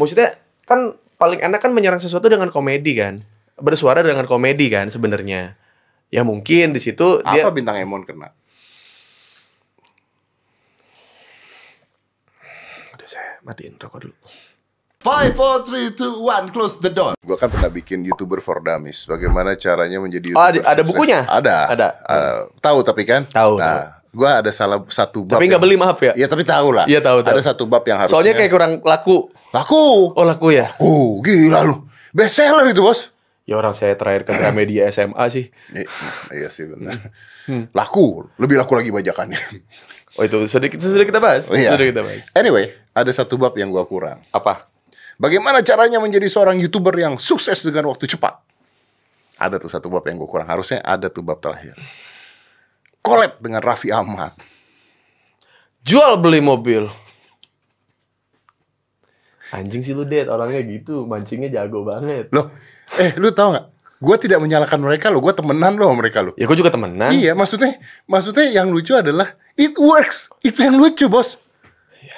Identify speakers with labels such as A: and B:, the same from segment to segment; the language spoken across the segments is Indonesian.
A: maksudnya kan paling enak kan menyerang sesuatu dengan komedi kan bersuara dengan komedi kan sebenarnya ya mungkin di situ dia
B: Apa bintang Emon kena?
A: Aduh, saya matiin rokok dulu
C: Five, four, three, two, one, close the door.
B: Gua kan pernah bikin YouTuber for Dummies. Bagaimana caranya menjadi
A: Oh, ada-
B: YouTuber
A: ada
B: sukses.
A: bukunya?
B: Ada.
A: Ada.
B: Eh, tahu tapi kan?
A: Tahu,
B: Nah, gua ada salah satu bab.
A: Tapi nggak beli, maaf ya?
B: Iya, tapi tahu lah.
A: Iya, tahu, tahu.
B: Ada satu bab yang harusnya
A: soalnya kayak kurang laku
B: laku.
A: oh laku ya
B: Oh, gila lu. Best seller itu, Bos.
A: ya orang saya terakhir ke media SMA sih
B: Eh, Iya sih benar.
C: Hmm.
B: Laku, lebih laku lagi bajakannya.
A: oh itu sudah kita sudah kita bahas
B: Oh, iya.
A: sudah kita bahas
B: Anyway, ada satu bab yang gua kurang.
A: apa
B: Bagaimana caranya menjadi seorang YouTuber yang sukses dengan waktu cepat? Ada tuh satu bab yang gue kurang. Harusnya ada tuh bab terakhir. Collab dengan Raffi Ahmad.
A: jual beli mobil anjing sih lu det orangnya gitu mancingnya jago banget
B: Loh, eh lu tau gak? Gue tidak menyalahkan mereka loh. Gue temenan loh sama mereka loh.
A: ya gue juga temenan
B: Iya, maksudnya maksudnya yang lucu adalah it works. Itu yang lucu, Bos.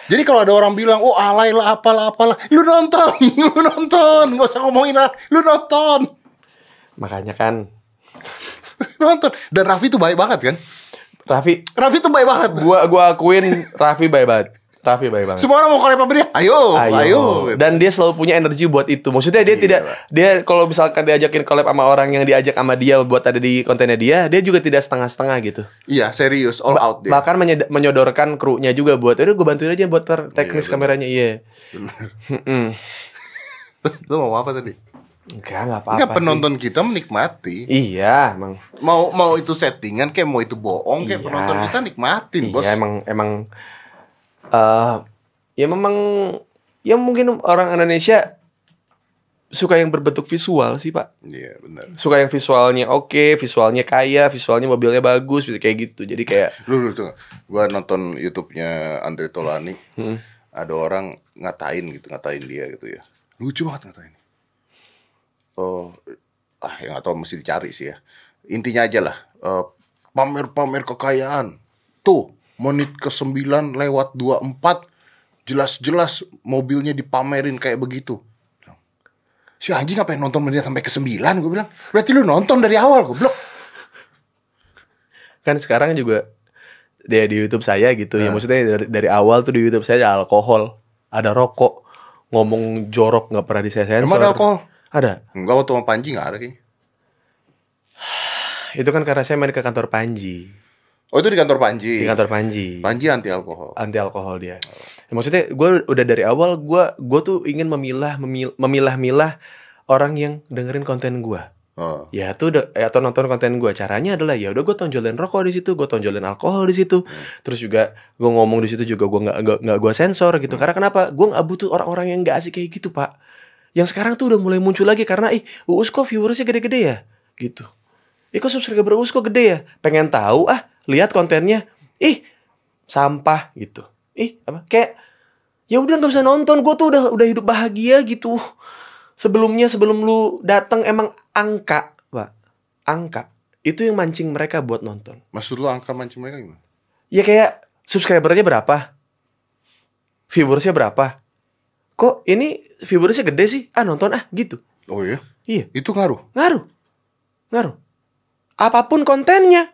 B: Jadi kalau ada orang bilang, oh alay lah, apalah, apalah. Lu nonton, lu nonton. Gak usah ngomongin lah. Lu nonton,
A: makanya kan
B: nonton. Dan Raffi tuh baik banget kan?
A: Raffi
B: Raffi tuh baik banget.
A: gua gua akuin Raffi baik banget Raffi baik banget
B: Semua orang mau collab sama dia. Ayo, ayo. gitu.
A: Dan dia selalu punya energi buat itu. Maksudnya dia
B: Gila.
A: tidak dia kalau misalkan diajakin collab sama orang yang diajak sama dia buat ada di kontennya dia, dia juga tidak setengah-setengah gitu.
B: iya, serius all out deh.
A: Bahkan menyed- menyodorkan krunya juga buat, "Udah gue bantuin aja buat per- teknis
B: Iya, bener.
A: kameranya." Iya. Mm-mm.
B: Lu mau apa tadi?
A: Enggak, enggak apa-apa.
B: Enggak
A: sih.
B: penonton kita menikmati.
A: Iya, emang.
B: Mau mau itu settingan kayak mau itu bohong
A: Iya.
B: kayak penonton kita nikmatin, Bos.
A: Iya, emang emang eh ya memang ya mungkin orang Indonesia suka yang berbentuk visual sih, Pak.
B: Iya, benar.
A: suka yang visualnya oke, visualnya kaya, visualnya mobilnya bagus, gitu, kayak gitu. Jadi kayak
B: Lu lu tuh. Gua nonton YouTube-nya Andre Tolani. Ada orang ngatain gitu, ngatain dia gitu ya. Lucu banget ngatain. Oh, ah yang atau mesti dicari sih ya. Intinya aja lah, eh, pamer-pamer kekayaan. Tuh, menit ke-9 lewat 24 jelas-jelas mobilnya dipamerin kayak begitu. Si anjing ngapain nonton menit sampai ke-9 gue bilang. Berarti lu nonton dari awal goblok.
A: kan sekarang juga dia di YouTube saya gitu ya
B: Ah.
A: maksudnya dari, dari awal tuh di YouTube saya ada alkohol, ada rokok, ngomong jorok nggak pernah disensor.
B: Emang ada alkohol?
A: Ada.
B: Enggak waktu sama Panji gak ada kayaknya.
A: Itu kan karena saya main ke kantor Panji,
B: Oh itu di kantor Panji.
A: di kantor Panji.
B: Panji anti alkohol.
A: anti alkohol dia. Ya, maksudnya gue udah dari awal gue gue tuh ingin memilah memil- memilah-milah orang yang dengerin konten gue.
B: Oh.
A: ya itu udah eh, atau nonton konten gue caranya adalah ya udah gue tonjolin rokok di situ gue tonjolin alkohol di situ terus juga gue ngomong di situ juga gue nggak nggak nggak gue sensor gitu karena kenapa gue nggak butuh orang-orang yang nggak asik kayak gitu pak yang sekarang tuh udah mulai muncul lagi karena ih uus kok viewersnya gede-gede ya gitu ih kok subscriber uus kok gede ya pengen tahu ah lihat kontennya ih sampah gitu ih apa kayak ya udah nggak bisa nonton gue tuh udah udah hidup bahagia gitu sebelumnya sebelum lu datang emang angka pak angka itu yang mancing mereka buat nonton
B: Maksud lu angka mancing mereka gimana?
A: ya kayak subscribernya berapa viewersnya berapa kok ini viewersnya gede sih ah nonton ah gitu
B: Oh iya?
A: iya
B: Itu ngaruh?
A: ngaruh ngaruh apapun kontennya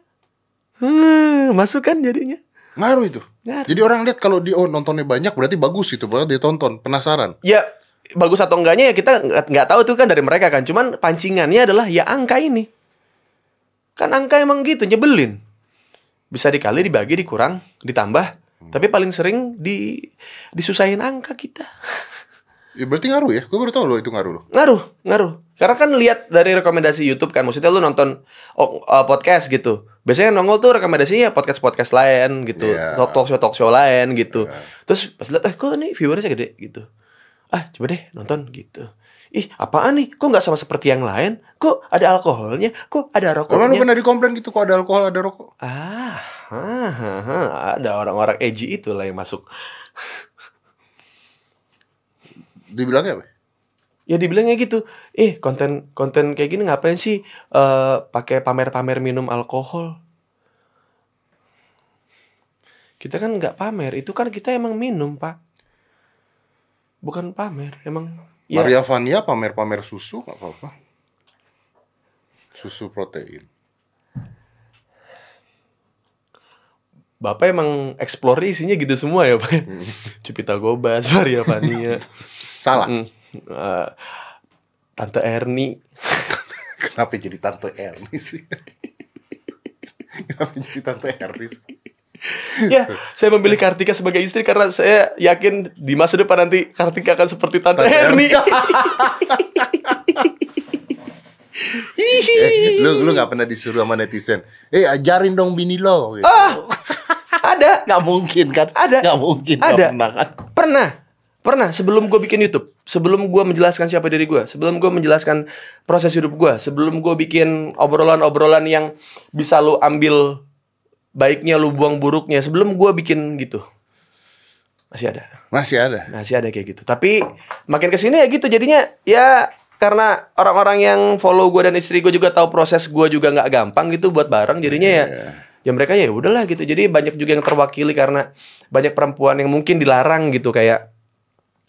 A: hmm masukan jadinya
B: Ngaruh itu.
A: Ngaruh.
B: Jadi orang lihat kalau dia oh, nontonnya banyak berarti bagus itu berarti dia tonton penasaran.
A: ya bagus atau enggaknya ya kita nggak- nggak tahu itu kan dari mereka kan cuman pancingannya adalah ya angka ini kan angka emang gitu nyebelin bisa dikali dibagi dikurang ditambah tapi paling sering di disusahin angka kita
B: Ya, berarti ngaruh ya? Gue baru tahu loh itu ngaruh loh.
A: ngaruh ngaruh karena kan lihat dari rekomendasi YouTube kan maksudnya lu nonton oh, eh, podcast gitu biasanya yang nongol tuh rekomendasinya podcast podcast lain gitu
B: Iya.
A: talk show talk show lain gitu
B: Iya.
A: terus pas lihat eh kok ini viewersnya gede gitu ah coba deh nonton gitu ih apaan nih kok nggak sama seperti yang lain kok ada alkoholnya kok ada
B: Kalau lu
A: rokoknya
B: pernah dikomplain gitu kok ada alkohol ada rokok?
A: ah ah, ah, ah, ada orang-orang edgy itulah yang masuk
B: Dibilangnya apa?
A: ya dibilangnya gitu eh konten konten kayak gini ngapain sih eh pakai pamer-pamer minum alkohol kita kan nggak pamer itu kan kita emang minum pak Bukan pamer, emang. Ya,
B: Maria Vania pamer-pamer susu nggak apa-apa. Susu protein.
A: Bapak emang explore isinya gitu semua ya, Pak.
B: Hmm.
A: Cupita Gobas, Maria Vania.
B: Salah.
A: Hmm, eh, Tante Erni.
B: Kenapa jadi Tante Erni sih? Kenapa jadi Tante Erni sih?
A: ya, saya memilih Kartika sebagai istri karena saya yakin di masa depan nanti Kartika akan seperti Tante,
B: Tante
A: Erni.
B: Eh, lu lu nggak pernah disuruh sama netizen. Eh ajarin dong bini lo. Gitu.
A: ah, ada.
B: Nggak mungkin kan?
A: Ada.
B: Nggak mungkin. nggak
A: Ada.
B: pernah kan?
A: Pernah. Pernah sebelum gue bikin YouTube, sebelum gue menjelaskan siapa diri gue, sebelum gue menjelaskan proses hidup gue, sebelum gue bikin obrolan-obrolan yang bisa lu ambil baiknya lu buang buruknya, sebelum gue bikin gitu. Masih ada.
B: Masih ada.
A: Masih ada kayak gitu. Tapi makin kesini ya gitu. Jadinya ya karena orang-orang yang follow gue dan istri gue juga tahu proses gue juga nggak gampang gitu buat bareng. Jadinya ya,
B: Iya.
A: ya mereka ya udahlah gitu. Jadi banyak juga yang terwakili karena banyak perempuan yang mungkin dilarang gitu kayak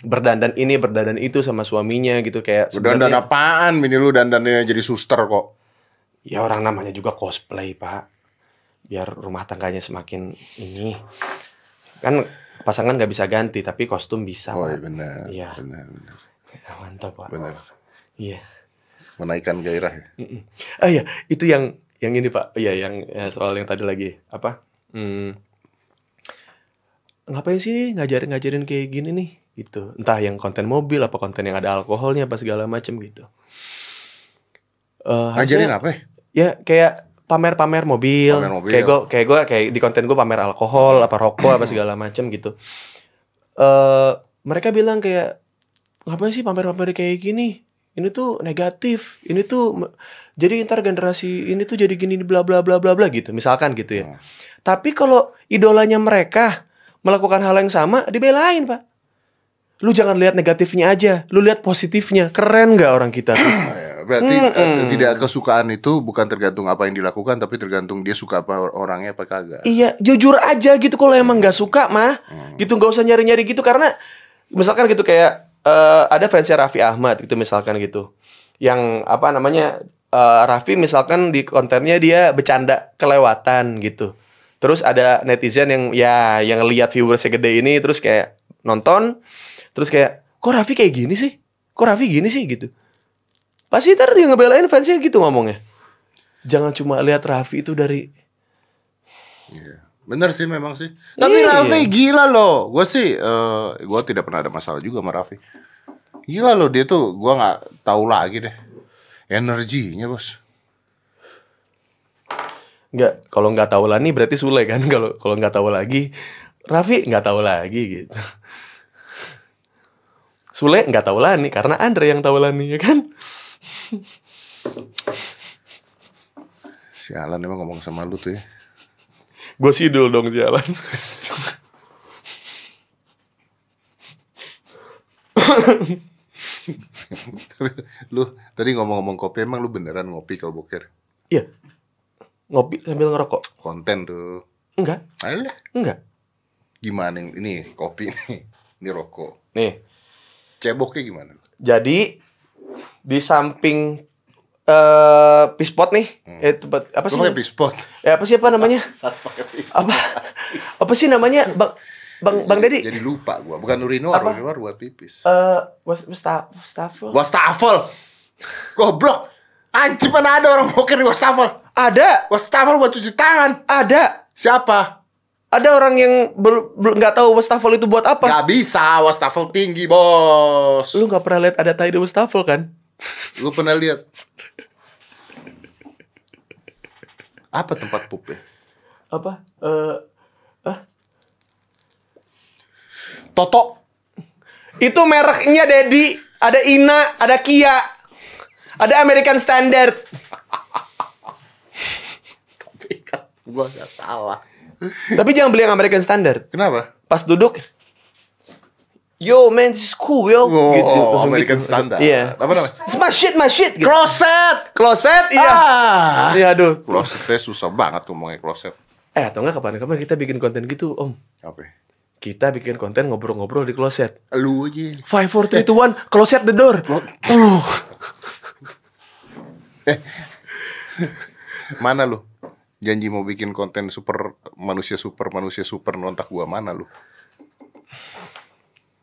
A: berdandan ini berdandan itu sama suaminya gitu kayak
B: Udah dandan
A: sebenarnya-
B: apaan bini lu dandannya jadi suster kok.
A: ya orang namanya juga cosplay pak biar rumah tangganya semakin ini kan pasangan nggak bisa ganti tapi kostum bisa
B: Oh iya
A: Pak.
B: benar.
A: Iya.
B: Benar, benar.
A: mantap pak
B: Benar.
A: iya
B: Menaikkan gairah ya.
A: Mm-mm. Ah iya, itu yang yang ini Pak. Iya, yang ya, soal yang tadi lagi apa? Hmm. Ngapain sih ngajarin-ngajarin kayak gini nih? Gitu. Entah yang konten mobil apa konten yang ada alkoholnya apa segala macem gitu. Eh, harusnya-
B: Ajarin apa ya?
A: ya kayak pamer-pamer mobil,
B: Pamer mobil.
A: kayak gue kayak gue kayak di konten gue pamer alkohol apa rokok apa segala macem gitu eh mereka bilang kayak ngapain sih pamer-pamer kayak gini ini tuh negatif ini tuh me- jadi ntar generasi ini tuh jadi gini bla bla bla bla bla gitu misalkan gitu ya
B: Hmm.
A: tapi kalau idolanya mereka melakukan hal yang sama dibelain pak lu jangan lihat negatifnya aja lu lihat positifnya keren nggak orang kita tuh?
B: Ya, Berarti
A: Mm-mm.
B: eh, tidak kesukaan itu bukan tergantung apa yang dilakukan tapi tergantung dia suka apa or- orangnya apa kagak.
A: Iya, jujur aja gitu kalau emang nggak suka mah, gitu nggak usah nyari-nyari gitu karena misalkan gitu kayak eh, ada fansnya Raffi Ahmad gitu misalkan gitu, yang apa namanya eh, Raffi misalkan di kontennya dia bercanda kelewatan gitu, terus ada netizen yang ya yang lihat viewersnya gede ini terus kayak nonton, terus kayak kok Raffi kayak gini sih, kok Raffi gini sih gitu, pasti ntar dia ngebelain fansnya gitu ngomongnya, jangan cuma lihat Raffi itu dari
B: Iya. Bener sih memang sih. Tapi
A: Iya.
B: Raffi gila loh. Gue sih eh gue tidak pernah ada masalah juga sama Raffi. Gila loh dia tuh gua nggak tahu lagi deh. Energinya bos.
A: Nggak, kalau nggak tahu lah nih berarti Sule kan kalau kalau nggak tahu lagi Raffi nggak tahu lagi gitu. Sule nggak tahu lah nih karena Andre yang tahu lah nih ya kan.
B: Sialan emang ngomong sama lu tuh ya.
A: Gue sidul dong jalan.
B: Tapi lu tadi ngomong-ngomong kopi emang lu beneran ngopi kalau boker
A: Iya. Ngopi sambil ngerokok.
B: konten tuh.
A: Enggak,
B: Alah,
A: enggak.
B: gimana yang- ini kopi nih. Ini rokok.
A: Nih.
B: Ceboknya gimana?
A: Jadi di samping eh pispot nih, eh tempat apa
B: Hmm. Lu
A: sih?
B: pakai pispot.
A: Eh apa sih apa namanya?
B: Saat pakai pispot.
A: Apa apa sih namanya? Bang Bang Bang Dedi.
B: Jadi lupa gua, bukan urinor,
A: Apa?
B: urinor buat pipis.
A: Eh was wastaf- wastafel.
B: Wastafel. Goblok. Anjir mana ada orang boker di wastafel?
A: Ada,
B: Wastafel buat cuci tangan.
A: ada,
B: Siapa?
A: ada orang yang bel- bel- nggak tahu wastafel itu buat apa.
B: Gak bisa, wastafel tinggi, bos.
A: Lu
B: Lu,
A: nggak pernah lihat ada tai di wastafel kan?
B: pernah lihat? Apa tempat pup ya?
A: Apa? Eh, ah,
B: Toto.
A: itu mereknya Dedi. Ada Ina, ada Kia, ada American Standard.
B: Tapi kan gua gak salah.
A: Tapi jangan beli yang American Standard.
B: Kenapa?
A: Pas duduk, yo man, this is cool yo.
B: Oh,
A: langsung
B: American Standard.
A: Gitu, Iya.
B: Apa namanya?
A: It's my shit, my shit. gitu.
B: Kloset.
A: Closet, iya.
B: Ah.
A: Iya, aduh.
B: Klosetnya susah banget ngomongnya kloset.
A: Eh, atau nggak kapan-kapan kita bikin konten gitu, Om.
B: Apa? ya?
A: Kita bikin konten ngobrol-ngobrol di kloset.
B: Lu aja.
A: Five, four, three, two, one, closet the door. Uh,
B: Mana lu? Janji mau bikin konten super manusia super manusia super nontak gua mana lu?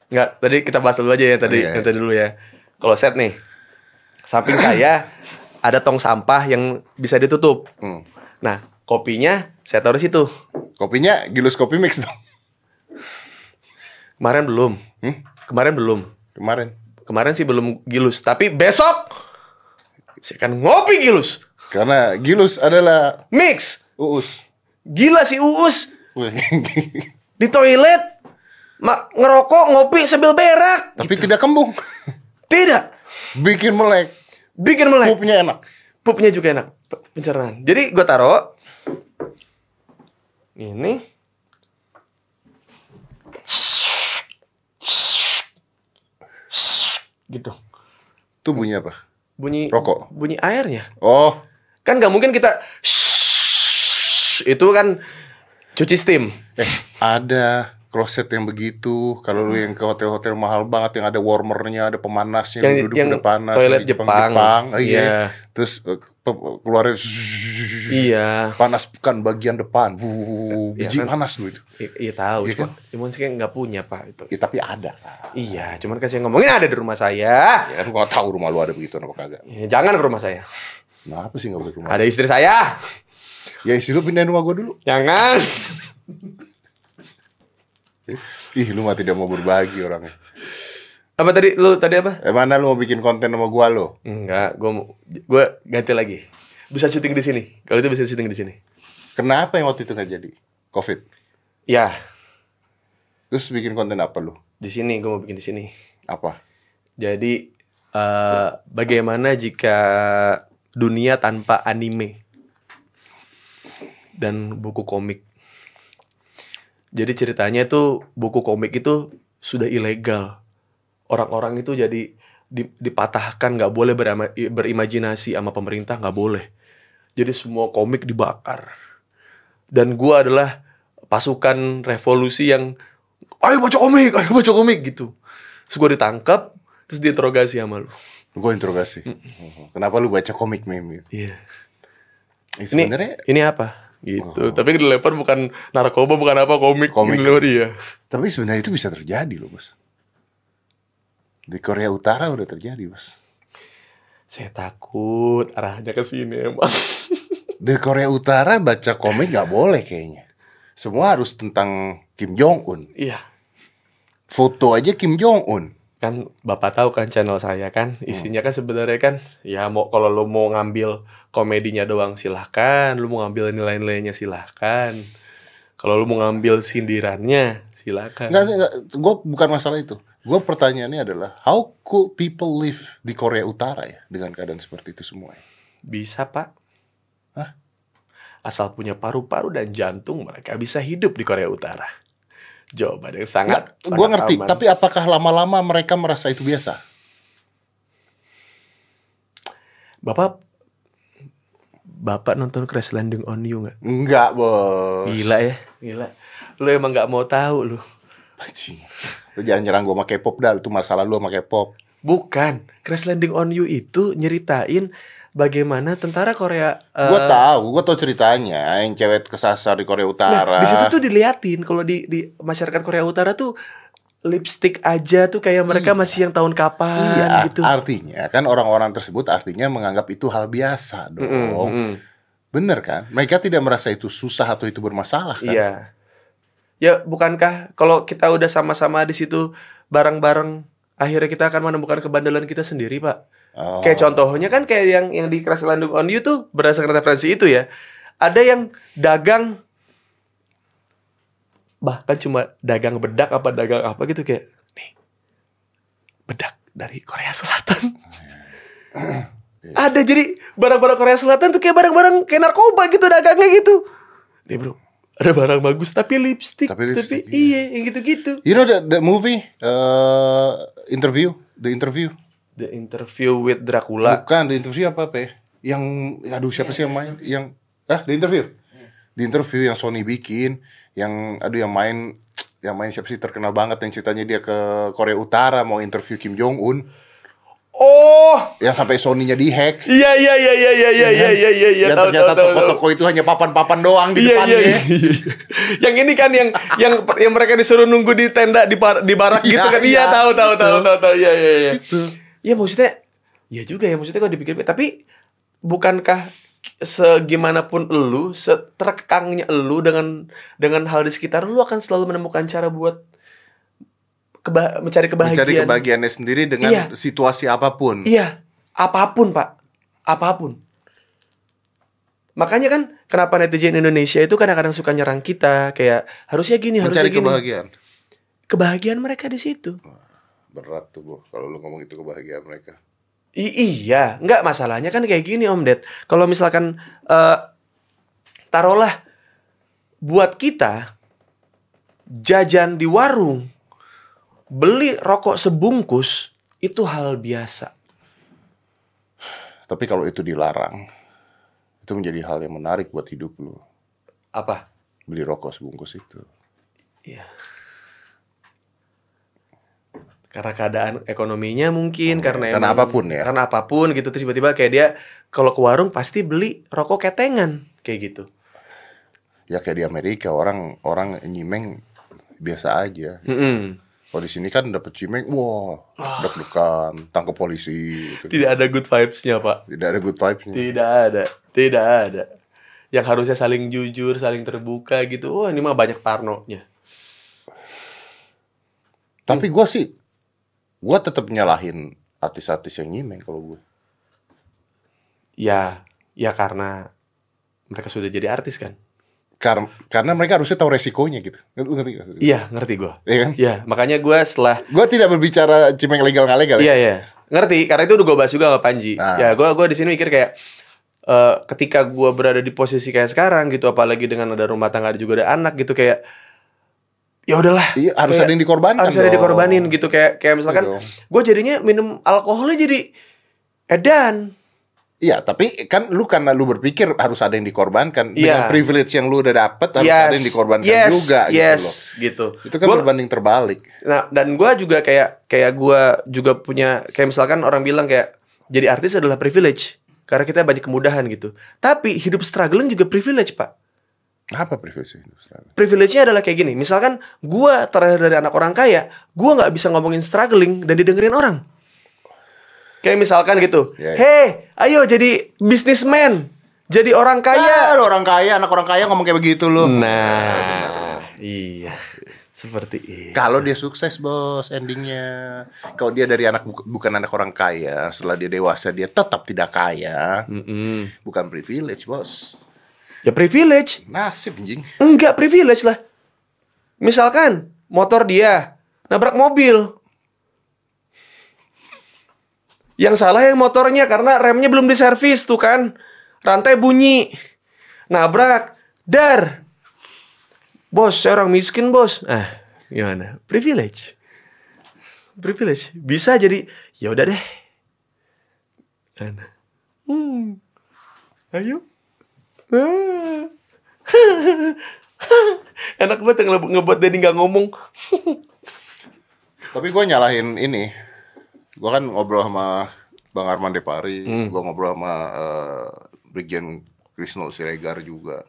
A: Nggak, tadi kita bahas dulu aja ya tadi,
B: Iya, iya.
A: yang tadi dulu ya. Kloset nih. Samping saya ada tong sampah yang bisa ditutup.
B: Hmm.
A: Nah, kopinya saya taruh situ.
B: Kopinya gilus kopi mix dong.
A: Kemarin belum.
B: Hmm?
A: Kemarin belum.
B: Kemarin.
A: Kemarin sih belum gilus, tapi besok saya akan ngopi gilus.
B: Karena gilus adalah
A: Mix.
B: uus.
A: Gila si Uus
B: Wih.
A: di toilet mak ngerokok, ngopi sambil berak.
B: Tapi tidak kembung.
A: Tidak.
B: Bikin melek.
A: Bikin melek.
B: Pupnya enak.
A: Pupnya juga enak pe- pencernaan. Jadi gue taruh ini gitu
B: Itu bunyi apa?
A: bunyi
B: Rokok.
A: bunyi airnya
B: Oh,
A: kan nggak mungkin kita itu kan cuci steam
B: eh ada kloset yang begitu. Kalau lu yang ke hotel-hotel mahal banget yang ada warmernya, ada pemanasnya,
A: Yang-
B: lu duduk
A: yang
B: udah panas.
A: toilet
B: di
A: Jepang.
B: Eh, iya.
A: Iya.
B: Terus eh, pe- keluarin
A: iya
B: panaskan bagian depan. Wuh,
A: Iya
B: biji
A: kan?
B: panas lu itu.
A: I- iya tahu
B: Iya
A: cuman cuman sih kayak nggak punya pak itu
B: Ya, tapi ada.
A: iya cuman kan saya ngomongin ada di rumah saya
B: Ya, lu gak tahu rumah lu ada begitu apa kagak.
A: Ya, jangan ke rumah saya
B: Nah, apa sih gak boleh ke rumah?
A: ada istri saya
B: Ya isi lu pindahin rumah gua dulu.
A: jangan
B: Eh, Ih, lu mah tidak mau berbagi orangnya.
A: apa tadi lu tadi apa
B: Eh, mana lu mau bikin konten sama gua lo?
A: Enggak, gue gue ganti lagi. Bisa syuting di sini. Kalau itu bisa syuting di sini.
B: Kenapa yang waktu itu gak jadi? Covid.
A: Ya,
B: Terus bikin konten apa lu?
A: di sini gue mau bikin di sini.
B: Apa?
A: Jadi eh, bagaimana jika dunia tanpa anime dan buku komik. Jadi ceritanya itu buku komik itu sudah ilegal. Orang-orang itu jadi di- dipatahkan nggak boleh berama- berimajinasi sama pemerintah nggak boleh. Jadi semua komik dibakar. Dan gua adalah pasukan revolusi yang ayo baca komik, ayo baca komik gitu. Terus gue ditangkap, terus diinterogasi sama lu.
B: Gue interogasi. Kenapa lu baca komik meme gitu?
A: Iya. Mm. Ini,
B: Eh, sebenarnya Oh.
A: ini apa? Gitu. Tapi yang dilempar bukan narkoba, bukan apa komik.
B: Komik.
A: Yang dilempar, iya.
B: tapi sebenarnya itu bisa terjadi loh, Bos. Di Korea Utara udah terjadi, Bos.
A: Saya takut arahnya ke sini emang.
B: Di Korea Utara baca komik nggak boleh kayaknya. Semua harus tentang Kim Jong Un.
A: iya.
B: Foto aja Kim Jong Un.
A: Kan Bapak tahu kan channel saya kan,
B: Hmm.
A: isinya kan sebenarnya kan ya mau kalau lu mau ngambil komedinya doang silahkan, lu mau ngambil nilai-nilainya silahkan. Kalau lu mau ngambil sindirannya silahkan.
B: Nggak, nggak, gue bukan masalah itu. Gue pertanyaannya adalah, how could people live di Korea Utara ya dengan keadaan seperti itu semua? Ya?
A: Bisa, Pak.
B: Hah?
A: Asal punya paru-paru dan jantung, mereka bisa hidup di Korea Utara. Jawaban yang sangat,
B: Nggak, gue
A: sangat
B: ngerti.
A: aman.
B: Tapi apakah lama-lama mereka merasa itu biasa?
A: Bapak Bapak nonton Crash Landing on You nggak?
B: Enggak, bos.
A: Gila ya, gila. Lu emang nggak mau tahu lu.
B: Bajing. Lu jangan nyerang gua sama K-pop dah, itu masalah lu sama K-pop.
A: Bukan, Crash Landing on You itu nyeritain bagaimana tentara Korea eh,
B: Gua tahu, gua tahu ceritanya yang cewek kesasar di Korea
A: Nah,
B: Utara.
A: di situ tuh diliatin kalau di di masyarakat Korea Utara tuh lipstick aja tuh kayak mereka masih yang tahun kapan
B: Iya,
A: gitu.
B: artinya kan orang-orang tersebut artinya menganggap itu hal biasa dong.
A: Mm-mm, mm-mm.
B: Bener kan? Mereka tidak merasa itu susah atau itu bermasalah kan?
A: Iya. Ya, bukankah kalau kita udah sama-sama di situ bareng-bareng akhirnya kita akan menemukan kebandelan kita sendiri, Pak.
B: Oh.
A: Kayak contohnya kan kayak yang yang di Crash Landing on You tuh berdasarkan referensi itu ya. Ada yang dagang bahkan cuma dagang bedak apa dagang apa gitu kayak nih bedak dari Korea Selatan. Ada jadi barang-barang Korea Selatan tuh kayak barang-barang kayak narkoba gitu dagangnya gitu. Nih bro, ada barang bagus tapi lipstick,
B: Tapi
A: tapi,
B: lipstick,
A: iya. yang gitu-gitu.
B: You know the, the movie eh interview, the interview.
A: The interview with Dracula.
B: Bukan the interview apa apa ya? Yang aduh siapa sih yang main? Yang ah the interview. The interview yang Sony bikin, yang aduh yang main yang main siapa sih terkenal banget yang ceritanya dia ke Korea Utara mau interview Kim Jong Un
A: Oh,
B: yang sampai Sony-nya dihack.
A: iya iya iya iya iya iya iya iya iya iya.
B: yang
A: tahu,
B: ternyata
A: tahu, tahu, tahu.
B: toko-toko itu hanya papan-papan doang di
A: Iya
B: depannya.
A: iya. iya. yang ini kan yang yang yang mereka disuruh nunggu di tenda di par- di barak gitu
B: Iya,
A: kan. Iya
B: iya,
A: tahu tahu
B: gitu.
A: tahu tahu tahu. Iya iya iya.
B: Gitu.
A: Iya maksudnya ya juga ya maksudnya kalau dipikir tapi bukankah segimanapun elu seterkangnya elu dengan dengan hal di sekitar lu akan selalu menemukan cara buat keba- mencari kebahagiaan.
B: Mencari kebahagiaannya sendiri dengan
A: Iya.
B: situasi apapun.
A: Iya, apapun pak, apapun. Makanya kan kenapa netizen Indonesia itu kadang-kadang suka nyerang kita kayak harusnya gini, harusnya
B: Mencari
A: gini.
B: kebahagiaan.
A: Kebahagiaan mereka di situ.
B: Berat tuh, Bu, kalau lu ngomong itu kebahagiaan mereka.
A: I- iya, nggak masalahnya kan kayak gini Om Ded. Kalau misalkan eh, taruhlah buat kita jajan di warung, beli rokok sebungkus itu hal biasa.
B: Tapi kalau itu dilarang, itu menjadi hal yang menarik buat hidup lu.
A: Apa?
B: Beli rokok sebungkus itu.
A: Iya. Karena keadaan ekonominya mungkin, karena
B: karena
A: emang-
B: apapun ya.
A: Karena apapun gitu terus tiba-tiba kayak dia kalau ke warung pasti beli rokok ketengan kayak gitu.
B: Ya kayak di Amerika orang orang nyimeng biasa aja.
A: Mm-mm.
B: Kalau di sini kan dapet cimeng, wah,
A: Ah.
B: deg-degan, tangkap polisi gitu.
A: Tidak ada good vibes-nya, Pak.
B: Tidak ada good vibes-nya.
A: Tidak ada. Tidak ada. Yang harusnya saling jujur, saling terbuka gitu. Wah, ini mah banyak parnonya.
B: Tapi gua sih gua tetap nyalahin artis-artis yang nyimeng kalau gue.
A: Ya, ya karena mereka sudah jadi artis kan.
B: Karena karena mereka harusnya tahu resikonya gitu. Lu ngerti gak?
A: Iya, ngerti gua.
B: Iya kan?
A: Iya, makanya gua setelah
B: Gue tidak berbicara cimeng legal nggak legal
A: Iya
B: ya.
A: iya. Ngerti karena itu udah gue bahas juga sama Panji.
B: Ah.
A: Ya gue gua di sini mikir kayak eh, ketika gue berada di posisi kayak sekarang gitu apalagi dengan ada rumah tangga ada juga ada anak gitu kayak ya udahlah
B: Iya, harus
A: Kayak
B: ada yang dikorbankan.
A: harus ada
B: dong.
A: dikorbanin gitu kayak kayak misalkan
B: Iya dong.
A: gue jadinya minum alkoholnya jadi edan
B: Iya, tapi kan lu karena lu berpikir harus ada yang dikorbankan dengan
A: Iya.
B: privilege yang lu udah dapet harus ada yang dikorbankan
A: yes,
B: juga
A: yes,
B: gitu loh.
A: gitu.
B: Itu kan
A: Gua-
B: berbanding terbalik.
A: Nah, dan gue juga kayak kayak gue juga punya kayak misalkan orang bilang kayak jadi artis adalah privilege karena kita banyak kemudahan gitu. Tapi hidup struggling juga privilege pak.
B: Apa privilege itu? sebenarnya?
A: Privilege-nya adalah kayak gini. Misalkan gue terakhir dari anak orang kaya, gue nggak bisa ngomongin struggling dan didengerin orang. Kayak misalkan gitu,
B: Ya, ya.
A: hei, ayo jadi businessman, jadi orang kaya.
B: Ah, lu orang kaya, anak orang kaya ngomong kayak begitu lu.
A: Hmm. Nah, iya, seperti itu.
B: Kalau dia sukses bos endingnya Kalau dia dari anak bu- bukan anak orang kaya Setelah dia dewasa dia tetap tidak kaya
A: Mm-mm.
B: Bukan privilege bos
A: Ya privilege.
B: Nasib anjing
A: Enggak privilege lah. Misalkan motor dia nabrak mobil. Yang salah yang motornya karena remnya belum diservis tuh kan. Rantai bunyi. Nabrak. Dar. Bos, saya orang miskin, Bos. Ah, gimana? Privilege. Privilege. Bisa jadi ya udah deh. Nah. Hmm. Ayo. Ah. Enak banget yang nge- ngebuat Denny gak ngomong.
B: Tapi gue nyalahin ini. Gue kan ngobrol sama Bang Arman Depari, gue ngobrol sama eh, Brigjen Krisno Siregar juga.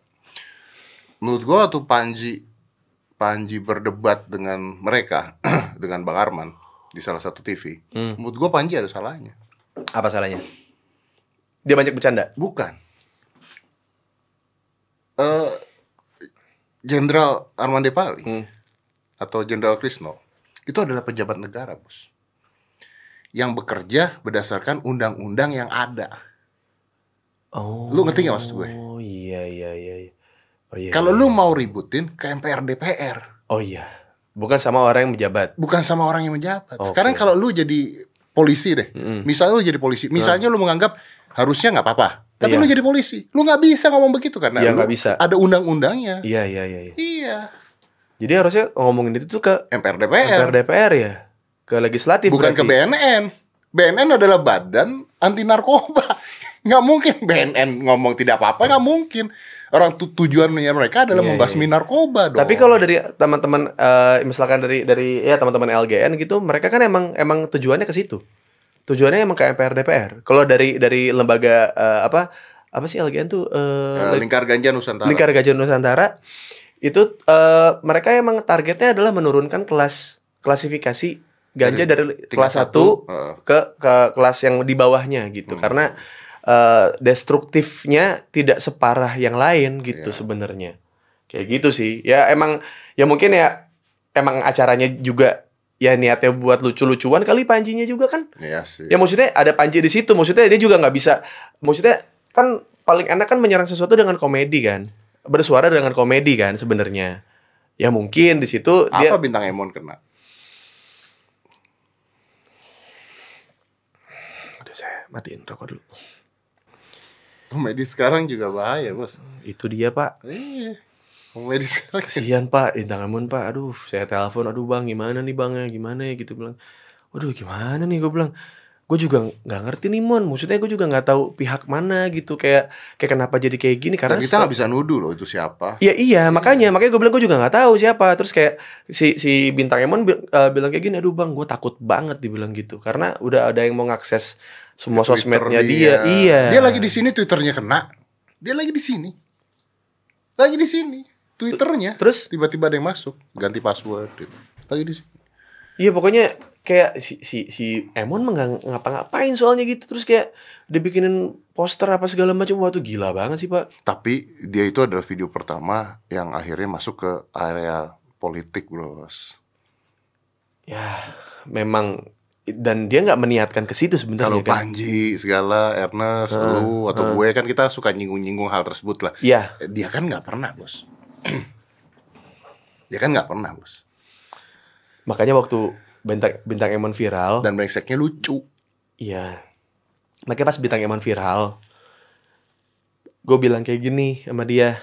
B: Menurut gue tuh Panji Panji berdebat dengan mereka, dengan Bang Arman di salah satu TV. Menurut gue Panji ada salahnya.
A: Apa salahnya? Dia banyak bercanda.
B: Bukan. Eh, Jenderal Arman Depali
A: Hmm.
B: atau Jenderal Krisno itu adalah pejabat negara, bos. Yang bekerja berdasarkan undang-undang yang ada.
A: Oh.
B: Lu ngerti nggak maksud gue?
A: Oh iya iya iya. iya. Oh iya.
B: Kalau lu mau ributin ke MPR DPR,
A: Oh iya. Bukan sama orang yang menjabat.
B: bukan sama orang yang menjabat.
A: Oke. Hmm.
B: Sekarang kalau lu jadi polisi deh, misalnya lu jadi polisi, misalnya lu menganggap harusnya nggak apa-apa, tapi
A: Iya.
B: lu jadi polisi, lu nggak bisa ngomong begitu karena
A: Iya,
B: lu
A: nggak bisa.
B: ada undang-undangnya.
A: Iya iya iya. iya.
B: Iya.
A: Jadi harusnya ngomongin itu tuh ke
B: MPR DPR.
A: DPR, DPR ya, ke legislatif.
B: bukan ke
A: berarti.
B: BNN. BNN adalah badan anti narkoba. Nggak mungkin BNN ngomong tidak apa-apa, nggak mungkin. orang tu- tujuannya mereka adalah
A: Iya,
B: membasmi narkoba dong.
A: Tapi kalau dari teman-teman eh, misalkan dari dari ya teman-teman LGN gitu, mereka kan emang emang tujuannya ke situ. Tujuannya emang ke MPR DPR. Kalau dari dari lembaga eh, apa apa sih LGN tuh
B: Eh,
A: eh,
B: lingkar ganja Nusantara.
A: Lingkar Gajah Nusantara itu eh, mereka emang targetnya adalah menurunkan kelas klasifikasi ganja dari,
B: Tingkat Eh,
A: kelas 1
B: Heeh.
A: ke ke kelas yang di bawahnya gitu
B: Hmm.
A: karena eh, destruktifnya tidak separah yang lain gitu
B: Iya.
A: sebenarnya kayak gitu sih ya emang ya mungkin ya emang acaranya juga ya niatnya buat lucu-lucuan kali panjinya juga kan
B: Iya sih.
A: ya maksudnya ada panji di situ maksudnya dia juga nggak bisa maksudnya kan paling enak kan menyerang sesuatu dengan komedi kan bersuara dengan komedi kan sebenarnya ya mungkin di situ dia
B: Apa bintang Emon kena?
A: Aduh, saya matiin rokok dulu
B: Komedi sekarang juga bahaya, Bos.
A: itu dia pak
B: Iya. Komedi sekarang
A: kasihan pak Bintang Emon pak aduh saya telepon aduh bang gimana nih bang ya gimana ya gitu bilang waduh gimana nih gue bilang gue juga nggak ngerti nih mon maksudnya gue juga nggak tahu pihak mana gitu kayak kayak kenapa jadi kayak gini
B: Dan
A: karena
B: kita nggak
A: se-
B: bisa nuduh loh itu siapa.
A: Iya iya makanya makanya gue bilang gue juga nggak tahu siapa terus kayak si si bintang Emon bi- eh, bilang kayak gini aduh bang gue takut banget dibilang gitu karena udah ada yang mau ngakses semua sosmednya dia. iya
B: Dia lagi di sini twitternya kena. Dia lagi di sini. Lagi di sini. Twitternya.
A: terus
B: Tiba-tiba ada yang masuk, ganti password. Gitu. Lagi di sini.
A: Iya pokoknya kayak si si si Emon mah nggak ngapa-ngapain soalnya gitu terus kayak dibikinin poster apa segala macam wah tuh gila banget sih pak.
B: Tapi dia itu adalah video pertama yang akhirnya masuk ke area politik, Bros.
A: Ya memang dan dia nggak meniatkan ke situ
B: Kalau
A: sebenarnya kan.
B: Panji segala, Ernest,
A: Heeh,
B: lu atau
A: heeh.
B: gue kan kita suka nyinggung-nyinggung hal tersebut lah.
A: Iya
B: Eh, Dia kan nggak pernah, Bos. dia kan nggak pernah, Bos.
A: makanya waktu bintang bintang Emon viral.
B: Dan brengseknya lucu.
A: Iya. Makanya pas bintang Emon viral, gue bilang kayak gini sama dia,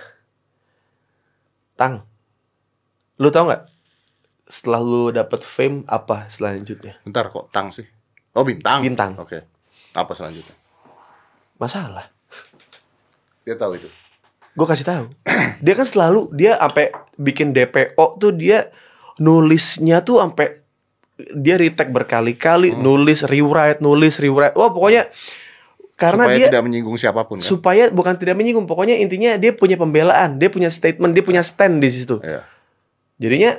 A: Tang, lu tau nggak setelah lu dapet fame apa selanjutnya?
B: Bentar kok tang sih. Oh, bintang.
A: Bintang.
B: Oke. Apa selanjutnya?
A: Masalah.
B: Dia tahu itu.
A: Gue kasih tahu. dia kan selalu dia sampai bikin DPO tuh dia nulisnya tuh sampai dia retake berkali-kali, nulis rewrite, nulis rewrite. Wah, pokoknya karena
B: Supaya
A: dia
B: tidak menyinggung siapapun kan.
A: supaya bukan tidak menyinggung, pokoknya intinya dia punya pembelaan, dia punya statement, dia punya stand di situ.
B: Iya.
A: Jadinya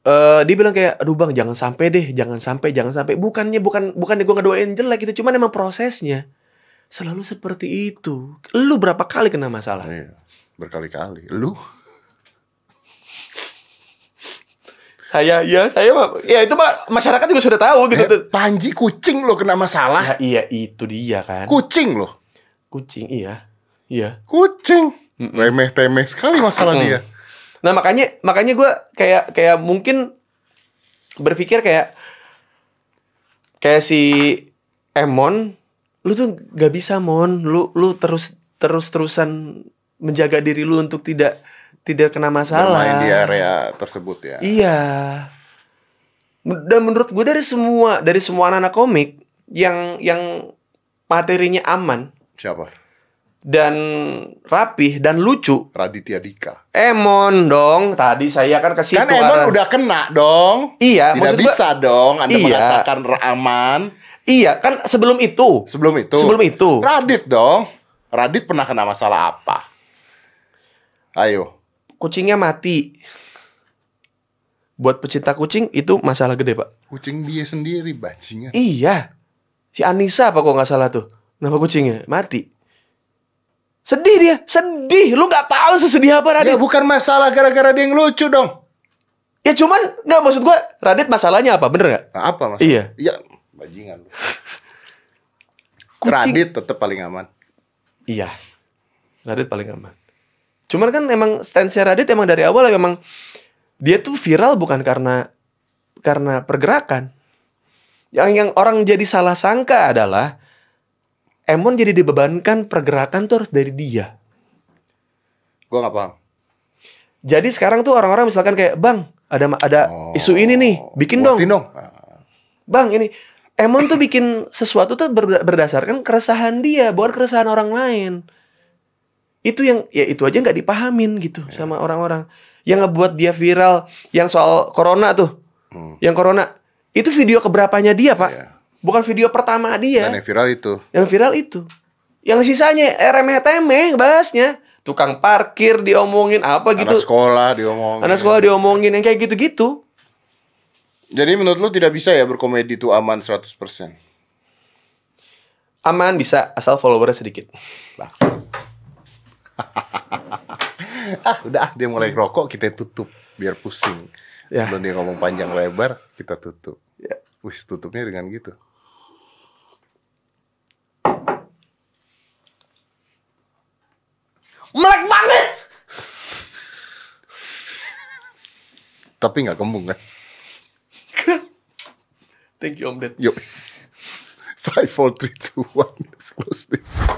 A: eh dia bilang kayak aduh bang jangan sampai deh jangan sampai jangan sampai bukannya bukan bukannya gue ngedoain jelek gitu cuman emang prosesnya selalu seperti itu lu berapa kali kena masalah
B: Iya. Berkali-kali. Lu
A: Saya ya saya mah- ya itu mah masyarakat juga sudah tahu gitu tuh.
B: Eh, Panji kucing lo kena masalah.
A: Ya, iya itu dia kan.
B: Kucing lo.
A: Kucing iya. Iya.
B: Kucing. Remeh temeh sekali masalah
A: Mm-mm.
B: dia.
A: Nah, makanya makanya gua kayak kayak mungkin berpikir kayak kayak si Emon lu tuh gak bisa mon lu lu terus terus terusan menjaga diri lu untuk tidak tidak kena masalah
B: Bermain di area tersebut ya.
A: Iya. Men- Dan menurut gue dari semua dari semua anak-anak komik yang yang materinya aman
B: Siapa?
A: dan rapih dan lucu,
B: Raditya Dika.
A: Emon dong. Tadi saya kan ke situ.
B: Kan Emon
A: arah-
B: udah kena dong.
A: Iya,
B: Tidak
A: maksud gua-
B: bisa dong Anda
A: Iya.
B: mengatakan aman
A: Iya, kan sebelum itu.
B: sebelum itu.
A: Sebelum itu.
B: Radit dong. Radit pernah kena masalah apa? Ayo.
A: Kucingnya mati. Buat pecinta kucing itu masalah gede, Pak.
B: Kucing dia sendiri bajingan.
A: Iya. Si Anissa apa kok nggak salah tuh? Nama kucingnya mati. Sedih dia, sedih. Lu nggak tahu sesedih apa Radit.
B: Ya bukan masalah gara-gara dia yang lucu dong. Iya.
A: Ya cuman nggak maksud gua Radit masalahnya apa bener nggak?
B: Nah, apa mas?
A: Iya.
B: Iya. Bajingan.
A: Kucing.
B: Radit tetap paling aman.
A: Iya. Radit paling aman. Cuman kan emang stance Radit emang dari awal ya memang dia tuh viral bukan karena karena pergerakan. Yang yang orang jadi salah sangka adalah Emon jadi dibebankan pergerakan tuh harus dari dia.
B: Gua nggak paham.
A: Jadi sekarang tuh orang-orang misalkan kayak Bang ada ma- ada
B: Oh.
A: isu ini nih, bikin dong.
B: Buatin dong. Ah,
A: Bang ini Emon tuh bikin sesuatu tuh berda- berdasarkan keresahan dia, bukan keresahan orang lain. itu yang ya itu aja nggak dipahamin gitu
B: Ya.
A: sama orang-orang yang ngebuat dia viral yang soal corona tuh
B: Hmm.
A: yang corona itu video keberapanya dia pak
B: Iya.
A: bukan video pertama dia
B: Dan yang Nah, viral itu.
A: yang viral itu yang sisanya eh, remeh-temeh bahasnya tukang parkir diomongin apa gitu
B: Anak sekolah ya. diomongin.
A: anak sekolah diomongin yang kayak gitu-gitu
B: Jadi menurut lu tidak bisa ya berkomedi itu aman 100%?
A: aman bisa asal followernya sedikit
B: Ah, udah ah, dia mulai rokok kita tutup biar pusing.
A: Ya.
B: Belum dia ngomong panjang lebar, kita tutup.
A: Ya.
B: Wis tutupnya dengan gitu.
A: melek banget
B: Tapi nggak kembung kan?
A: thank you om Ded
B: Yuk. 5 4 3 2 1. Let's close this.